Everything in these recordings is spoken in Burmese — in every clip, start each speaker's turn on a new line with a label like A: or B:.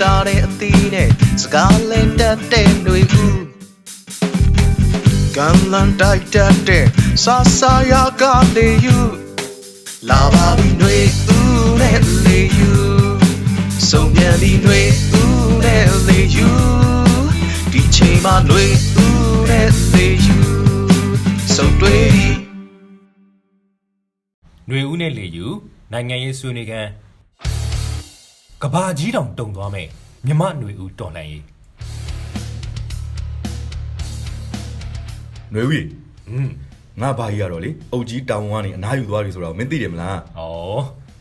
A: တာတဲ့အသီးနဲ့စကားလဲတတ်တဲ့တွေဦးကံလန်တိုက်တတ်တဲ့ဆာဆာရကနေယူ လာပါပြီຫນွေဦးနဲ့လေယူစုံပြန်ပြီຫນွေဦးနဲ့လေယူဒီချိန်မှာຫນွေဦးနဲ့လေယူစုံတွေ့ပြီ
B: ຫນွေဦးနဲ့လေယူနိုင်ငံရေးဆွေးနွေးခန်းကဘာကြီးတောင်တုံသွားမယ်မြမຫນွေဦးတော်လှန်ရေး
C: နွေဦးကြီး
B: อืม
C: ငါဘာကြီးရတော့လေအုတ်ကြီးတောင်ဝကနေအနားယူသွားပြီဆိုတော့မင်းသိတယ်မလား
B: ဩ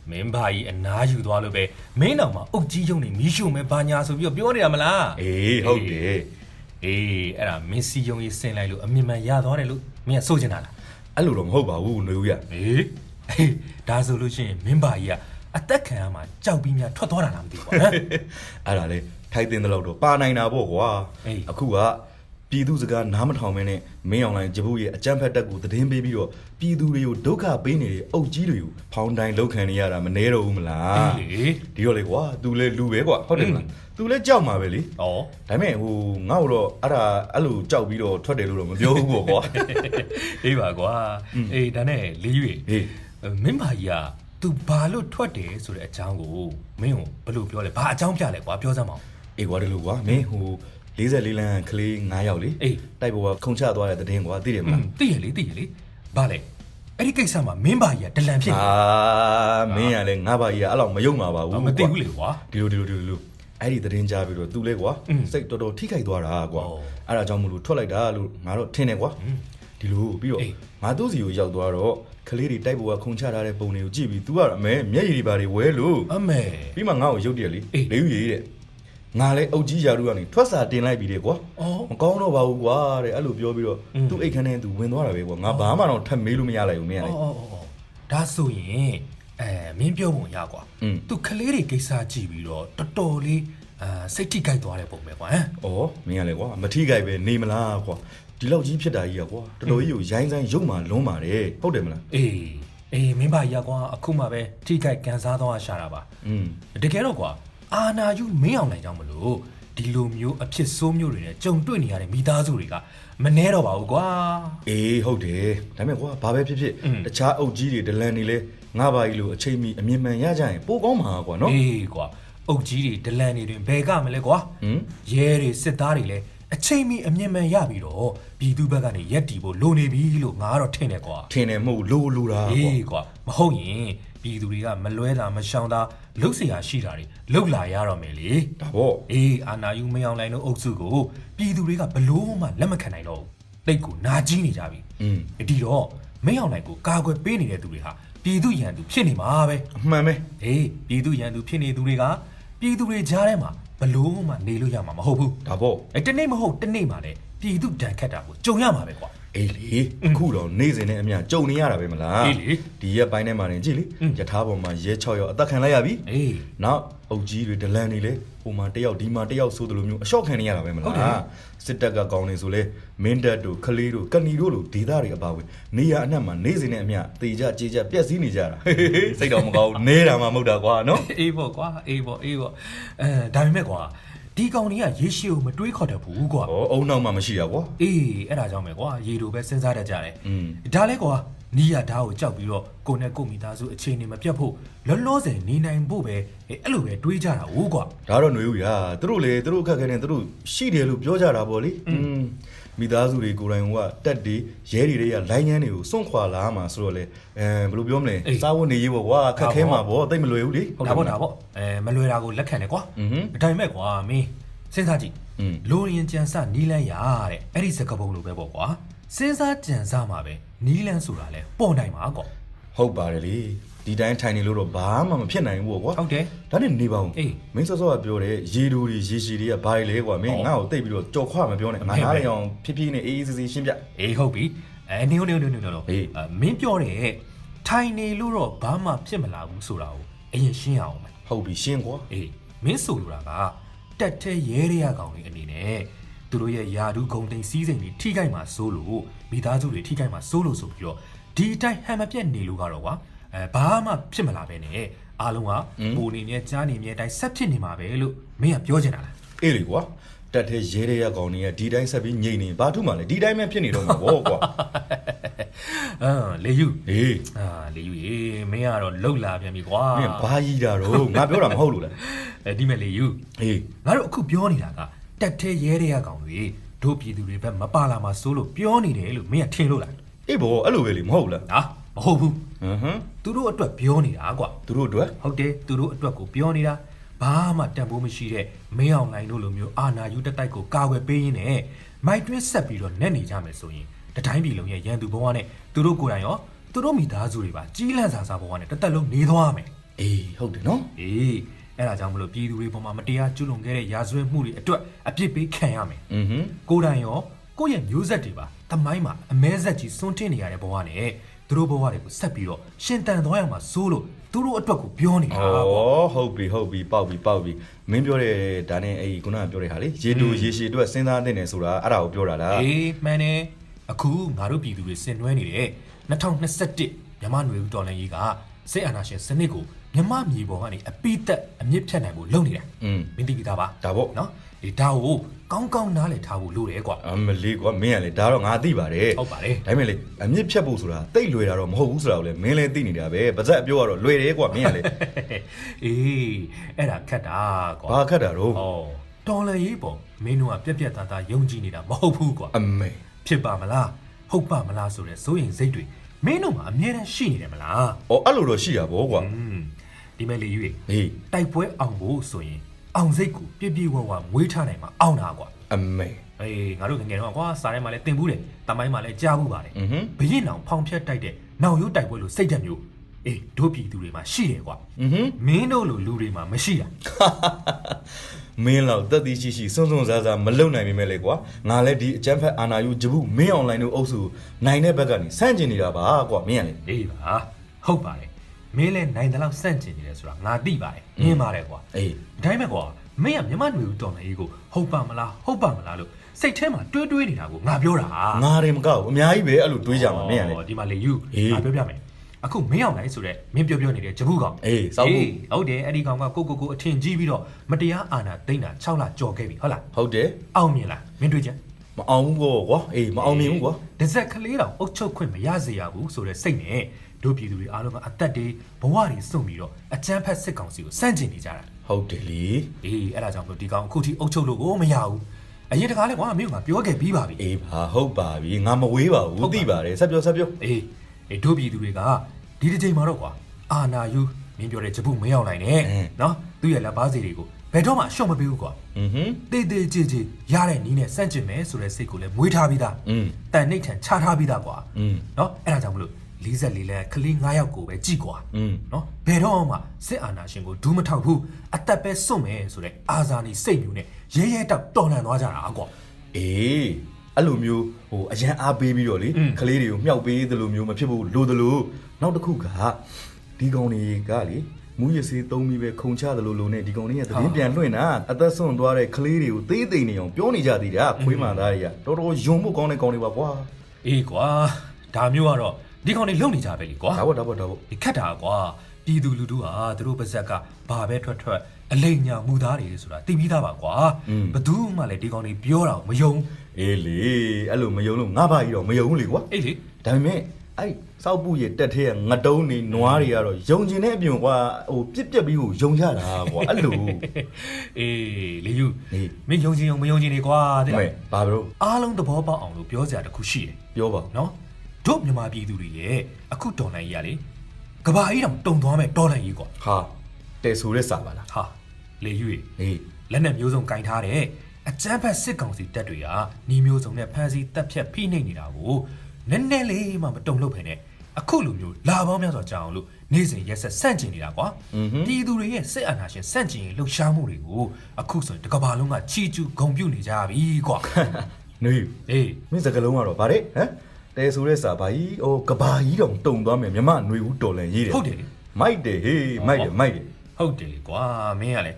B: မင်းဘာကြီးအနားယူသွားလို့ပဲမင်းတော်မှာအုတ်ကြီးယုံနေမီးရှို့မယ်ဘာညာဆိုပြီးတော့ပြောနေတာမလား
C: အေးဟုတ်တယ်
B: အေးအဲ့ဒါမင်းစီယုံကြီးဆင်းလိုက်လို့အမြင်မှန်ရသွားတယ်လို့မင်းကဆိုချင်တာလား
C: အဲ့လိုတော့မဟုတ်ပါဘူးနွေဦးရ
B: ဟေးအေးဒါဆိုလို့ရှိရင်မင်းဘာကြီးကအသက်ခံရမှာကြောက်ပြီးများထွက်သွားတာလားမသိဘူးကွာဟမ်
C: အဲ့ဒါလေထိုက်တင်တဲ့လောက်တော့ပါနိုင်တာပေါ့ကွာ
B: အေး
C: အခုကပြည်သူစကားနားမထောင်မင်းနဲ့မင်းအောင်လိုင်းဂျပူရဲ့အကြမ်းဖက်တက်ကိုသတင်းပေးပြီးတော့ပြည်သူတွေကိုဒုက္ခပေးနေတဲ့အုတ်ကြီးတွေကိုဖောင်းတိုင်းလောက်ခံနေရတာမနေတော့ဘူးမလား
B: အေး
C: ဒီတော့လေကွာ तू လဲလူပဲကွာဟုတ်တယ်မလား तू လဲကြောက်မှာပဲလေ
B: ဩ
C: ဒါပေမဲ့ဟိုငါ့ကိုတော့အဲ့ဒါအဲ့လိုကြောက်ပြီးတော့ထွက်တယ်လို့တော့မပြောဘူးပေါ့ ကွာ
B: အေးပါကွာအေးဒါနဲ့လေးရွေ
C: ဟေး
B: အဲမင်းပါကြီးอ่ะ तू ဘာလို့ထွက်တယ်ဆိုတဲ့အကြောင်းကိုမင်းကိုဘယ်လိုပြောလဲဘာအကြောင်းပြလဲကွာပြောစမ်းပါဦး
C: အေးကွာဒီလိုကွာမင်းဟို44လမ်းကလေး9ရောက်လေ
B: အေး
C: တိုက်ပေါ်ကခုံချသွားတဲ့သတဲ့င်းကွာသိတယ်မ
B: อื
C: လား
B: มသိရလေသိရလေဘာလဲအဲ့ဒီကိစ္စမှာမင်းပါကြီးอ่ะဒလန်ဖြစ်နေ
C: အာမင်းကလည်းငါဘာကြီးကအဲ့လောက်မယုံမှာပါ
B: အော်
C: ဘူး
B: မသိဘူးလေကွာ
C: ဒီလိုဒီလိုဒီလိုဒီလိုအဲ့ဒီသတဲ့င်းကြားပြီးတော့သူလဲကွာ
B: อืม
C: စိတ်တော်တော်ထိခိုက်သွားတာကွာ
B: အော်
C: အဲ့ဒါကြောင့်မလို့ထွက်လိုက်တာလို့ငါတော့ထင်တယ်ကွာဒီလိုပြီးတော့
B: အေး
C: ငါသူ့စီကိုရောက်သွားတော့ကလေးတွေတိုက်ပေါ်ကခုံချထားတဲ့ပုံတွေကိုကြည့်ပြီး तू ကအမေမျက်ရည်တွေပါတွေဝဲလို့
B: အမေ
C: ပြီးမှငါ့ကိုရုပ်တရက်လေ
B: အေး
C: လေးဦးရေးတဲ့ငါလဲအုတ်ကြီးယာတို့ကနေထွက်စာတင်လိုက်ပြီတဲ့ကွာ
B: အော်
C: မကောင်းတော့ပါဘူးကွာတဲ့အဲ့လိုပြောပြီးတော့
B: อืม
C: သူ့အိတ်ခန်းထဲသူဝင်သွားတာပဲကွာငါဘာမှတော့ထပ်မေးလို့မရလိုက်ဘူးမင်းကလေ
B: အော်အော်အော်အော်ဒါဆိုရင်အဲမင်းပြောပုံရကွာ
C: อืม
B: तू ကလေးတွေကိစ္စကြည့်ပြီးတော့တော်တော်လေးအာစိတ်ထိခိုက်သွားတဲ့ပုံပဲကွာဟမ်
C: ဩမင်းကလေကွာမထိခိုက်ပဲနေမလားကွာဒီလောက်ကြီးဖြစ်တာကြီးကွာတော်တော်ကြီးကိုရိုင်းဆိုင်ရုပ်မှလုံးပါတယ်ဟုတ်တယ်မလား
B: အေးအေးမင်းပါကြီးอ่ะကွာအခုမှပဲထိခိုက်ကန်စားသွားရှာတာပါ
C: อืม
B: တကယ်တော့ကွာအာနာယူမင်းအောင်နိုင်ကြောင်းမလို့ဒီလိုမျိုးအဖြစ်ဆိုးမျိုးတွေနဲ့ကြုံတွေ့နေရတဲ့မိသားစုတွေကမနှဲတော့ပါဘူးကွာ
C: အေးဟုတ်တယ်ဒါပေမဲ့ကွာဘာပဲဖြစ်ဖြစ်
B: อืม
C: တခြားအုပ်ကြီးတွေဒလန်တွေလဲငါဘာကြီးလို့အချိန်မီအမြင်မှန်ရကြရင်ပိုကောင်းမှာကွာနော်
B: အေးကွာအုပ်ကြီးတွေဒလန်တွေတွင်ဘယ်ကမလဲကွာ
C: ဟင်
B: ရဲတွေစစ်သားတွေလည်းအချိန်မီအမြင်မှန်ရပြီးတော့ပြည်သူဘက်ကနေရက်တီဖို့လိုနေပြီလို့ငါကတော့ထင်တယ်ကွာ
C: ထင်တယ်မဟုတ်လို့လို့တာ
B: အေ
C: ကွာ
B: းကွာမဟုတ်ရင်ပြည်သူတွေကမလွဲတာမရှောင်တာလှုပ်เสียရှိတာတွေလှုပ်လာရတော့မယ်လေ
C: ဒါပေါ့
B: အေးအာနာယူမင်းအောင်လိုင်တို့အုပ်စုကိုပြည်သူတွေကဘလို့မှလက်မခံနိုင်တော့ဘူးတိတ်ကိုနာကြီးနေကြပြီ
C: อืม
B: အဒီတော့မင်းအောင်နိုင်ကိုကာကွယ်ပေးနေတဲ့သူတွေဟာပြည်သူရန်သူဖြစ်နေမှာပဲ
C: အမှန်ပဲ
B: အေးပြည်သူရန်သူဖြစ်နေသူတွေကပြည်သူတွေကြားထဲမှာဘလို့မှနေလို့ရမှာမဟုတ်ဘူး
C: ဒါပေါ့
B: အဲတနေ့မဟုတ်တနေ့မှလည်းပြည်သူတန်ခတ်တာကိုကြုံရမှာပဲကွာ
C: အေးလေအခုတော့နေစဉ်နဲ့အမျှကြုံနေရတာပဲမလား
B: အေးလေ
C: ဒီရက်ပိုင်းထဲမှာနေကြည့်လေ
B: อืม
C: ယထားပေါ်မှာရဲ6ရောက်အသက်ခံလိုက်ရပြီ
B: အေး
C: နောက်အုပ်ကြီးတွေဒလန်တွေလေဟိုမှာတယောက်ဒီမှာတယောက်ဆိုသလိုမျိုးအလျှော့ခံနေရတာပဲမ
B: ဟုတ်တယ်
C: လားစစ်တပ်ကကောင်းနေဆိုလဲမင်းတပ်တို့ခလေးတို့ကဏီတို့လိုဒေသတွေအပါအဝင်နေရအနှံ့မှာနေစဉ်နဲ့အမျှတေကြကြေကြပြက်စီးနေကြတာဟေးဟေးစိတ်တော့မကောင်းဘူးနေတာမှမဟုတ်တာကွာနော်
B: အေးပေါ့ကွာအေးပေါ့အေးပေါ့အဲဒါပေမဲ့ကွာဒီကောင်တွေကရေရှည်ကိုမတွေးခေါ်တတ်ဘူးကွာ
C: ဟောအုံနောက်မှမရှိတာကွာ
B: အေးအဲ့ဒါကြောင့်ပဲကွာရေတို့ပဲစဉ်းစားတတ်ကြတယ်
C: อืม
B: ဒါလဲကွာနီးရဓာတ်ကိုကြောက်ပြီးတော့ကိုယ်နဲ့ကိုယ်မိသားစုအခြေအနေမပြတ်ဖို့လောလောဆယ်နေနိုင်ဖို့ပဲအဲအဲ့လိုပဲတွေးကြတာဟုတ်ကွာ
C: ဒါတော့ຫນွေဦးရာသူတို့လေသူတို့အခက်အခဲနဲ့သူတို့ရှိတယ်လို့ပြောကြတာပေါ့လေอืมမိသားစုတွေကိုယ်တိုင်ကတက်တွေရဲတွေတွေကလိုင်းငန်းတွေကိုစွန့်ခွာလာမှာဆိုတော့လေအဲဘယ်လိုပြောမလဲ
B: အေး
C: စားဝတ်နေရေးပေါ့ကွာအခက်ခဲမှာပေါ့တိတ်မလွယ်ဘူးလေ
B: ဒါပေါ့
C: မ
B: ဒါ
C: လား
B: ပေါ့အဲမလွယ်တာကိုလက်ခံတယ်ကွာ
C: อือฮึ
B: ဒါပေမဲ့ကွာမင်းစဉ်းစားကြည့်
C: อืม
B: လိုရင်ကြံစနီးလန်းရတဲ့အဲ့ဒီစကပုံလိုပဲပေါ့ကွာစဉ်းစားကြံစမှာပဲနီးလန်းဆိုတာလဲပေါ်နိုင်မှာကွာ
C: ဟုတ်ပါတယ်လေဒီတိုင်းထိုင်နေလို့တော့ဘာမှမဖြစ်နိုင်ဘူးပေါ့ကွာ
B: ဟုတ်တယ်
C: ဒါနဲ့နေပါဦး
B: အေး
C: မင်းစောစောကပြောတယ်ရေတူတွေရေရှည်တွေကဘာတွေလဲကွာမင်း
B: ဟော
C: ငါ့ကိုတိတ်ပြီးတော့ကြော်ခွမပြောနဲ့
B: မ
C: ငါ
B: ဖြစ်
C: နား
B: ပဲ
C: လေအောင်ဖြည်းဖြည်းနဲ့အေးအေးဆေးဆေးရှင်းပြ
B: အေးဟုတ်ပြီအဲနေနေနေနေတော့
C: အေး
B: အဲမင်းပြောတယ်ထိုင်နေလို့တော့ဘာမှဖြစ်မလာဘူးဆိုတာကိုအရင်ရှင်းရအောင်မယ်
C: ဟုတ်ပြီရှင်းကွာ
B: အေးမင်းဆိုလိုတာကတက်တဲ့ရဲရဲရကောင်တွေအနေနဲ့သူတို့ရဲ့ယာဒူးဂုံတိန်စီးစိမ်တွေထိခိုက်မှာစိုးလို့မိသားစုတွေထိခိုက်မှာစိုးလို့ဆိုပြီးတော့ဒီအတိုင်းဟန်မပြတ်နေလို့ကတော့ကွာအဲဘာမှဖြစ်မလာဘဲနဲ့ အားလုံးကပူနေမြဲကြားနေမြဲတိုင်းဆက်ဖြစ်နေမှာပဲလို့မင်းကပြောချင်တာလား
C: အေးလေကွာတက်တဲ့ရဲရဲရကောင်တွေကဒီတိုင်းဆက်ပြီးငြိမ်နေဘာထုမှလဲဒီတိုင်းပဲဖြစ်နေတော့မှာဗောကွာ
B: အင်းလေယူ
C: အေး
B: အာလေယူရေမင်းကတော့လှုပ်လာပြန်ပြီကွာ
C: မင်းဘာကြီးတာတော့ငါပြောတာမဟုတ်လို့လား
B: အဲဒီမဲ့လေယူ
C: အေး
B: ငါတို့အခုပြောနေတာကတက်သေးရဲတဲ့ရကောင်တွေတို့ပြည်သူတွေဘက်မပါလာမှာစိုးလို့ပြောနေတယ်လို့မင်းကထင်လို့လား
C: အေးဗောအဲ့လိုပဲလေမဟုတ်ဘူးလား
B: ဟာမဟုတ်ဘူး
C: ဟမ်ဟမ်
B: သူတို့အတွက်ပြောနေတာကွာ
C: သူတို့အတွက်
B: ဟုတ်တယ်သူတို့အတွက်ကိုပြောနေတာဘာမှတန်ဖိုးမရှိတဲ့မင်းအောင်လိုင်းတို့လိုမျိုးအာနာယူတက်တိုက်ကိုကာကွယ်ပေးရင်းနဲ့မိုက်တွင်းဆက်ပြီးတော့နဲ့နေကြမယ်ဆိုရင်တတိုင်းပြည်လုံးရဲ့ရန်သူဘဝနဲ့သူတို့ကိုယ်တိုင်ရောသူတို့မိသားစုတွေပါကြီးလန့်စာစားဘဝနဲ့တစ်သက်လုံးနေသွားမယ်
C: အေးဟုတ်တယ်နော်
B: အေးအဲ့ဒါကြောင့်မလို့ပြည်သူတွေပေါ်မှာမတရားကျူးလွန်ခဲ့တဲ့ရာဇဝတ်မှုတွေအတွက်အပြစ်ပေးခံရမယ်
C: อือဟึ
B: ကိုယ်တိုင်ရောကိုယ့်ရဲ့မျိုးဆက်တွေပါတမိုင်းမှာအမဲဆက်ကြီးစွန့်တင်နေရတဲ့ဘဝနဲ့သူတို့ဘဝတွေကိုဆက်ပြီးတော့ရှင်တန်သွားရမှာစိုးလို့သူတို့အတွက်ကိုပြောနေတာ
C: အော
B: ပေါ့
C: ်ဟုတ်ပြီဟုတ်ပြီပေါက်ပြီပေါက်ပြီမင်းပြောတဲ့ဒါနဲ့အေးခုနကပြောတဲ့ဟာလေရေတူရေရှည်အတွက်စဉ်းစားနေတယ်ဆိုတာအဲ့ဒါကိုပြောတာလား
B: အေးမှန်တယ်အခုငါတို့ပြည်သူတွေဆင်နွှဲနေတဲ့2021မြန်မာຫນွေဦးတော်လှန်ရေးကစစ်အာဏာရှင်စနစ်ကိုမြန်မာမြေပေါ်ကနေအပိသက်အမြင့်ဖြတ်နိုင်ဖို့လုပ်နေတာ
C: อืม
B: မင်းသိပြီသားပါ
C: ဒါပေါ့
B: နော်ဒီဒါကိုကောင်းကောင်းနားလည်ထားဖို့လိုတယ်ကွာ
C: အမလေးကွာမင်းကလေဒါတော့ငါသိပါတယ်
B: ဟုတ်ပါတယ်
C: ဒါပေမဲ့လေအမြင့်ဖြတ်ဖို့ဆိုတာတိတ်လွယ်တာတော့မဟုတ်ဘူးဆိုတာကိုလေမင်းလည်းသိနေတာပဲပါဇက်အပြောကတော့လွယ်တယ်ကွာမင်းကလေ
B: အေးအဲ့ဒါခက်တာကွာ
C: ဘာခတ်တာတော့
B: ဟောတော်လည်းရေးပေါ့မင်းတို့ကပြက်ပြက်သားသားယုံကြည်နေတာမဟုတ်ဘူးကွာ
C: အမေ
B: ဖြစ်ပါမလားဟုတ်ပါမလားဆိုတဲ့စိုးရင်စိတ်တွေမင်းတို့မှာအများတန်းရှိနေတယ်မလား
C: အော်အဲ့လိုတော့ရှိတာဗောကွာ
B: อืมဒီမဲ့လေယူရေ
C: ဟေး
B: တိုက်ပွဲအောင်ဖို့ဆိုရင်အောင်စိတ်ကိုပြည့်ပြည့်ဝဝမွေးထားနိုင်မှာအောင်တာကွာ
C: အမေ
B: အေးငါတို့ငယ်ငယ်တော့ကွာစားထဲမှာလည်းတင်ဘူးတယ်တမိုင်းမှာလည်းကြားဘူးပါတယ်
C: อือဟึ
B: ဘရင်အောင်ဖောင်ဖြတ်တိုက်တဲ့နောင်ရိုးတိုက်ပွဲလို့စိတ်ဓာတ်မျိုးအေးတို့ပြည်သူတွေမှာရှိတယ်ကွာ
C: อือဟึ
B: မင်းတို့လိုလူတွေမှာမရှိတာ
C: မင်းလောက်တက်သီးရှိရှိစွန့်စွန့်စားစားမလုံနိုင်ပေမဲ့လေကွာငါလည်းဒီအကျန်းဖက်အာနာယူဂျပုမင်းအွန်လိုင်းတို့အုပ်စုနိုင်တဲ့ဘက်ကနေစန့်ကျင်နေတာပါကွာမင်းကလေ
B: အေးပါဟုတ်ပါတယ်မင်းလည်းနိုင်တယ်လို့စန့်ကျင်နေတယ်ဆိုတာငါသိပါတယ်နင်းပါတယ်ကွာ
C: အေး
B: ဒါပေမဲ့ကွာမင်းကမြမຫນွေဦးတော်လည်းကြီးကိုဟုတ်ပါမလားဟုတ်ပါမလားလို့စိတ်ထဲမှာတွေးတွေးနေတာကိုငါပြောတာ
C: ငါတွေမကောက်ဘူးအများကြီးပဲအဲ့လိုတွေးကြမှာမင်းကလေ
B: အော်ဒီမှာလေယူ
C: အေး
B: ငါပြောပြမယ်အခုမင်းအောင်လိုက်ဆိုတဲ့မင်းပြောပြောနေတဲ့ဂျပုကောင်
C: အေးစောက်ဘူး
B: ဟုတ်တယ်အဲ့ဒီကောင်ကကိုကိုကိုအထင်ကြီးပြီးတော့မတရားအာဏာသိမ်းတာ6လကြော်ခဲ့ပြီဟုတ်လား
C: ဟုတ်တယ်
B: အောင်မြင်လားမင်းတွေ့ကြ
C: မအောင်ဘူးကွာကွာအေးမအောင်မြင်ဘူးကွာ
B: ဒဇက်ကလေးတောင်အုပ်ချုပ်ခွင့်မရစေရဘူးဆိုတဲ့စိတ်နဲ့တို့ပြည်သူတွေအားလုံးကအသက်တွေဘဝတွေစွန့်ပြီးတော့အကျန်းဖက်စစ်ကောင်စီကိုစန့်ကျင်နေကြတာ
C: ဟုတ်တယ်လေ
B: အေးအဲ့ဒါကြောင့်မလို့ဒီကောင်အခုထိအုပ်ချုပ်လို့ကိုမရဘူးအရင်တကားလဲကွာမင်းကငါပြောခဲ့ပြီးပါပြီ
C: အေးပါဟုတ်ပါပြီငါမဝေးပါဘူးသိပါတယ်ဆက်ပြောဆက်ပြော
B: အေးအေးတို့ပြည်သူတွေကဒီတစ်ချိန်မှာတော့ကွာအာနာယူမင်းပြောတဲ့ဂျပုမရောက်နိုင်နဲ့နော်သူ့ရဲ့လက်ပါစီတွေကိုဘယ်တော့မှအရှုံးမပေးဘူးကွာ
C: อือဟึ
B: တေးသေးကြည်ကြည်ရတဲ့နီးနဲ့စန့်ကျင်မယ်ဆိုတဲ့စိတ်ကိုလည်းမွေးထားပြီးသား
C: อืม
B: တန်နှိတ်ထန်ချထားပြီးသားကွာ
C: อืม
B: เนาะအဲ့ဒါကြောင့်မလို့44လက်ကလေး9ယောက်ကိုပဲကြည်กว่า
C: อืม
B: เนาะဘယ်တော့မှစစ်အာဏာရှင်ကိုဒူးမထောက်ဘူးအသက်ပဲစွန့်မယ်ဆိုတဲ့အာဇာနည်စိတ်မျိုးနဲ့ရဲရဲတောက်တော်လှန်သွားကြတာကွာ
C: အေးအဲ့လိုမျိုးဟိုအရန်အားပေးပြီးတော့လေ
B: อืม
C: ကလေးတွေကိုမြှောက်ပေးသလိုမျိုးမဖြစ်ဘူးလိုသလိုနောက်တစ်ခုကဒီကောင်တွေကလေမူရစေးသုံးပြီးပဲခုံချသလိုလိုနဲ့ဒီကောင်တွေကသတ
B: ဟာ
C: င်းပြန်လွှင့်တာအသက်ဆုံးသွားတဲ့ကလေးတွေကိုသေးသိမ့်နေအောင်ပြောနေကြသေးတာခွေးမှန်သားတွေကတော်တော်ယုံဖို့ကောင်းတဲ့ကောင်တွေပါကွာ
B: အေးကွာဒါမျိုးကတော့ဒီကောင်တွေလုံနေကြပဲလေကွာ
C: ဒါပေါ့ဒါပေါ့ဒါပေါ့
B: ဒီခက်တာကွာပြည်သူလူထုဟာသူတို့ပါဇက်ကဘာပဲထွက်ထွက်အလိမ်ညာမူသားတွေဆိုတာသိပြီးသားပါကွာဘယ်သူမှလည်းဒီကောင်တွေပြောတာကိုမယုံ
C: အေးလေအဲ့လိုမယုံလို့ငါဘာကြီးတော့မယုံဘူးလေကွာ
B: အေးလေ
C: ဒါပေမဲ့အဲ့စောက်ပုရဲ့တက်ထဲကငတုံးနေနွားတွေကတော့ယုံကျင်တဲ့အပြင်ကွာဟိုပြက်ပြက်ပြီးဟိုယုံကြတာကွာအဲ့လို
B: အေးလေယူ
C: အေး
B: မင်းယုံကြည်အောင်မယုံကြည်နေကွာတဲ့
C: မဲ့ဘာဘလို့
B: အားလုံးသဘောပေါက်အောင်လို့ပြောစရာတစ်ခုရှိတယ်
C: ပြောပါ
B: နော်တို့မြန်မာပြည်သူတွေရဲ့အခုတော်နိုင်ကြီးရလေကဘာကြီးတောင်တုံသွားမဲ့တော်နိုင်ကြီးကွာ
C: ဟာတဲဆိုရဲစာပါလား
B: ဟာလေယူရေ
C: ဟေး
B: လက်နဲ့မျိုးစုံကင်ထားတဲ့အကြမ်းဖက်စစ်ကောင်စီတပ်တွေဟာနှီးမျိုးစုံနဲ့ဖမ်းဆီးတပ်ဖြတ်ဖိနှိပ်နေတာကိုနည်းနည်းလေးမှမတုံ့လို့ဖ ೇನೆ အခုလိုမျိုးလာပေါင်းများစွာကြာအောင်လို့နေ့စဉ်ရက်ဆက်စန့်ကျင်နေတာကွာပြည်သူတွေရဲ့စစ်အာဏာရှင်စန့်ကျင်ရေးလှုပ်ရှားမှုတွေကိုအခုဆိုရင်တစ်ကမ္ဘာလုံးကချီကျူးဂုဏ်ပြုနေကြပြီကွာ
C: နွေ
B: အေး
C: မင်းစကလုံးကတော့ဗါတယ်ဟမ်တဲဆိုရဲစာဘာကြီးဟိုကဘာကြီးတောင်တုံသွားမယ်မြမຫນွေဦးတော်လန်ရေးတယ်
B: ဟုတ်တယ်လေ
C: မိုက်တယ်ဟေးမိုက်တယ်မိုက်တယ်
B: ဟုတ်တယ်လေကွာမင်းကလေ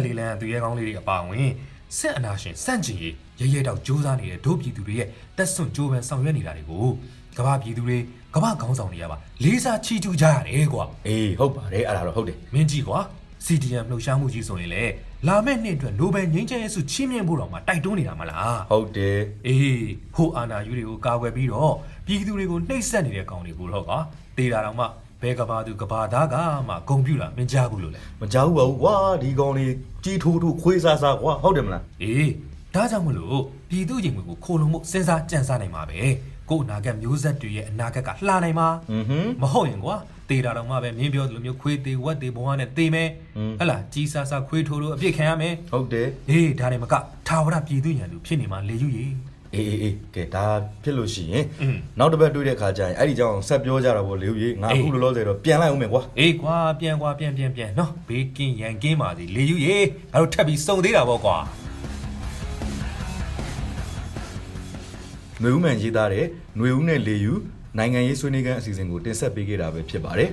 B: 44လမ်းသူရဲကောင်းလေးတွေအပါအဝင်စစ်အနာရှင်စန့်ကျင်ရေးရဲရဲတောက်ကြိုးစားနေတဲ့ဒုပြည်သူတွေရဲ့တက်ဆွန့်ကြိုးပမ်းဆောင်ရွက်နေတာတွေကိုကမ္ဘာပြည်သူတွေက ကမ္ဘာခေါင်းဆောင်တွေကပါလေးစားချီးကျူးကြရတယ်ကွာ
C: အေးဟုတ်ပါတယ်အဲ့ဒါတော့ဟုတ်တယ်
B: မင်းကြီးကွာ CDM လှုပ်ရှားမှုကြီးဆိုရင်လေလာမယ့်နှစ်အတွက်နိုဘယ်ငြိမ်းချမ်းရေးဆုချီးမြှင့်ဖို့တော့မှတိုက်တွန်းနေတာမလား
C: ဟုတ်တယ်
B: အေးဟိုအာနာယူတွေကိုကာကွယ်ပြီးတော့ပြည်သူတွေကိုနှိပ်စက်နေတဲ့ကောင်တွေကိုတော့ကတေးတာတော့မှဘဲကဘာသူကဘာသားကမှဂုံပြူလာမင်းကြားဘူးလို့လေ
C: မကြောက်ပါဘူးကွာဒီကောင်လေးကြီးထိုးထိုးခွေးစားစားကွာဟုတ်တယ်မလား
B: အေးဒါကြောင့်မလို့ပြည်သူရင်ဝင်ကိုခိုလုံမှုစဉ်းစားကြံစားနိုင်မှာပဲကို့အနာကမျိုးဆက်တွေရဲ့အနာကကလှနိုင်မှာ
C: อือหือ
B: မဟုတ်ရင်ကွာတေးတာတော့မှပဲမင်းပြောသလိုမျိုးခွေးသေးဝက်သေးဘဝနဲ့သေးမယ်
C: อืม
B: ဟဲ့လားကြီးစားစားခွေးထိုးလို့အပြစ်ခံရမယ်
C: ဟုတ်တယ်
B: အေးဒါတွေမကထာဝရပြည်သူရန်သူဖြစ်နေမှာလေယူကြီး
C: အေးအေးအေးကဲဒါဖြစ်လို့ရှိရင်
B: อืม
C: နောက်တစ်ပတ်တွေ့တဲ့ခါကျရင်အဲ့ဒီကြောင့်ဆက်ပြောကြတာပေါ့လေဦးကြီးငါ
B: အေး
C: အခုလောလောဆယ်တော့ပြန်လိုက်အောင်မယ်ကွာ
B: အေးကွာပြန်ကွာပြန်ပြန်ပြန်နော်ဘေးကင်းရန်ကင်းပါစေလေယူရေငါတို့ထပ်ပြီးစုံသေးတာပေါ့ကွာ
C: ຫນွေဦးမှန်ရေးသားတဲ့ຫນွေဦးနဲ့လေယူနိုင်ငံရေးဆွေးနွေးခန်းအစီအစဉ်ကိုတင်ဆက်ပေးခဲ့တာပဲဖြစ်ပါတယ်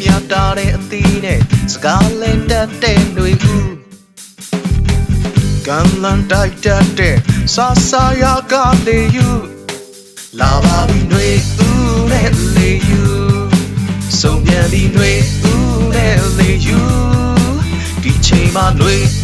A: မြတ်တာတဲ့အသီးနဲ့စကားလဲတတ်တဲ့တွေဦးကံလန်တိုက်တတ်တဲ့ဆာဆာယာကလေယူလာပါပြီတွေဦးနဲ့လေယူစုံပြန်ပြီတွေဦးနဲ့လေယူဒီချိန်မှာတွေ